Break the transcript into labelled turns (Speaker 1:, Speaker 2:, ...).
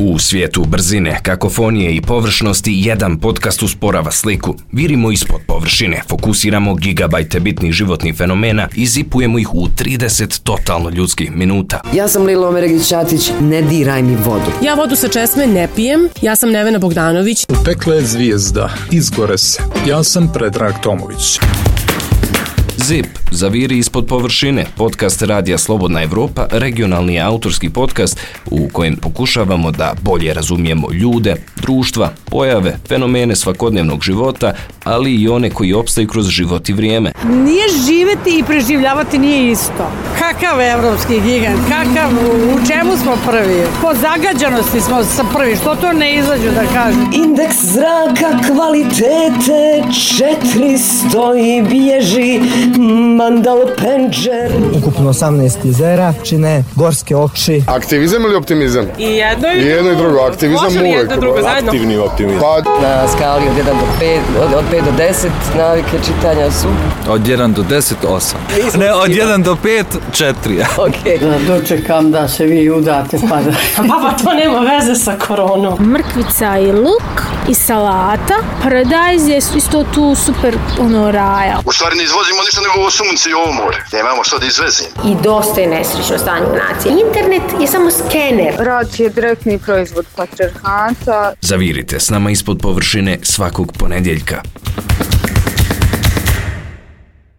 Speaker 1: U svijetu brzine, kakofonije i površnosti jedan podcast usporava sliku. Virimo ispod površine, fokusiramo gigabajte bitnih životnih fenomena i zipujemo ih u 30 totalno ljudskih minuta.
Speaker 2: Ja sam Lila Omeregić-Čatić, ne diraj mi vodu.
Speaker 3: Ja vodu sa česme ne pijem, ja sam Nevena Bogdanović.
Speaker 4: Pekla je zvijezda, izgore se. Ja sam Predrag Tomović.
Speaker 1: Zip, zaviri ispod površine, podcast Radija Slobodna Evropa, regionalni je autorski podcast u kojem pokušavamo da bolje razumijemo ljude, društva, pojave, fenomene svakodnevnog života, ali i one koji opstaju kroz život i vrijeme.
Speaker 5: Nije živjeti i preživljavati nije isto. Kakav evropski gigant, kakav, u čemu smo prvi? Po zagađanosti smo sa prvi, što to ne izađu da kažu?
Speaker 2: Indeks zraka kvalitete 400 i bježi mandal penđer.
Speaker 6: Ukupno 18 jezera čine gorske okši.
Speaker 7: Aktivizam ili optimizam?
Speaker 8: I jedno i,
Speaker 7: I jedno i drugo, aktivizam
Speaker 8: Može li
Speaker 7: uvek.
Speaker 8: jedno i drugo zajedno?
Speaker 9: Aktivni optimizam.
Speaker 7: Pa,
Speaker 10: na skali od 1 do 5, od, od 5 do 10, navike čitanja su
Speaker 11: Od 1 do 10, 8. Ne, od 1 do 5, 4.
Speaker 10: ok.
Speaker 5: Dočekam da se vi udate pa da...
Speaker 3: Baba, to nema veze sa koronom.
Speaker 12: mrkvica i luk i salata. Paradajz je isto tu super ono raja.
Speaker 13: U stvari ne izvozimo ništa nego ovo sunce i ovo more. Nemamo što da izvezimo.
Speaker 14: i dosta je nesrećno stanje u naciji. Internet je samo skener.
Speaker 15: Rad je direktni proizvod patriarhata.
Speaker 1: Zavirite s nama ispod površine svakog ponedjeljka.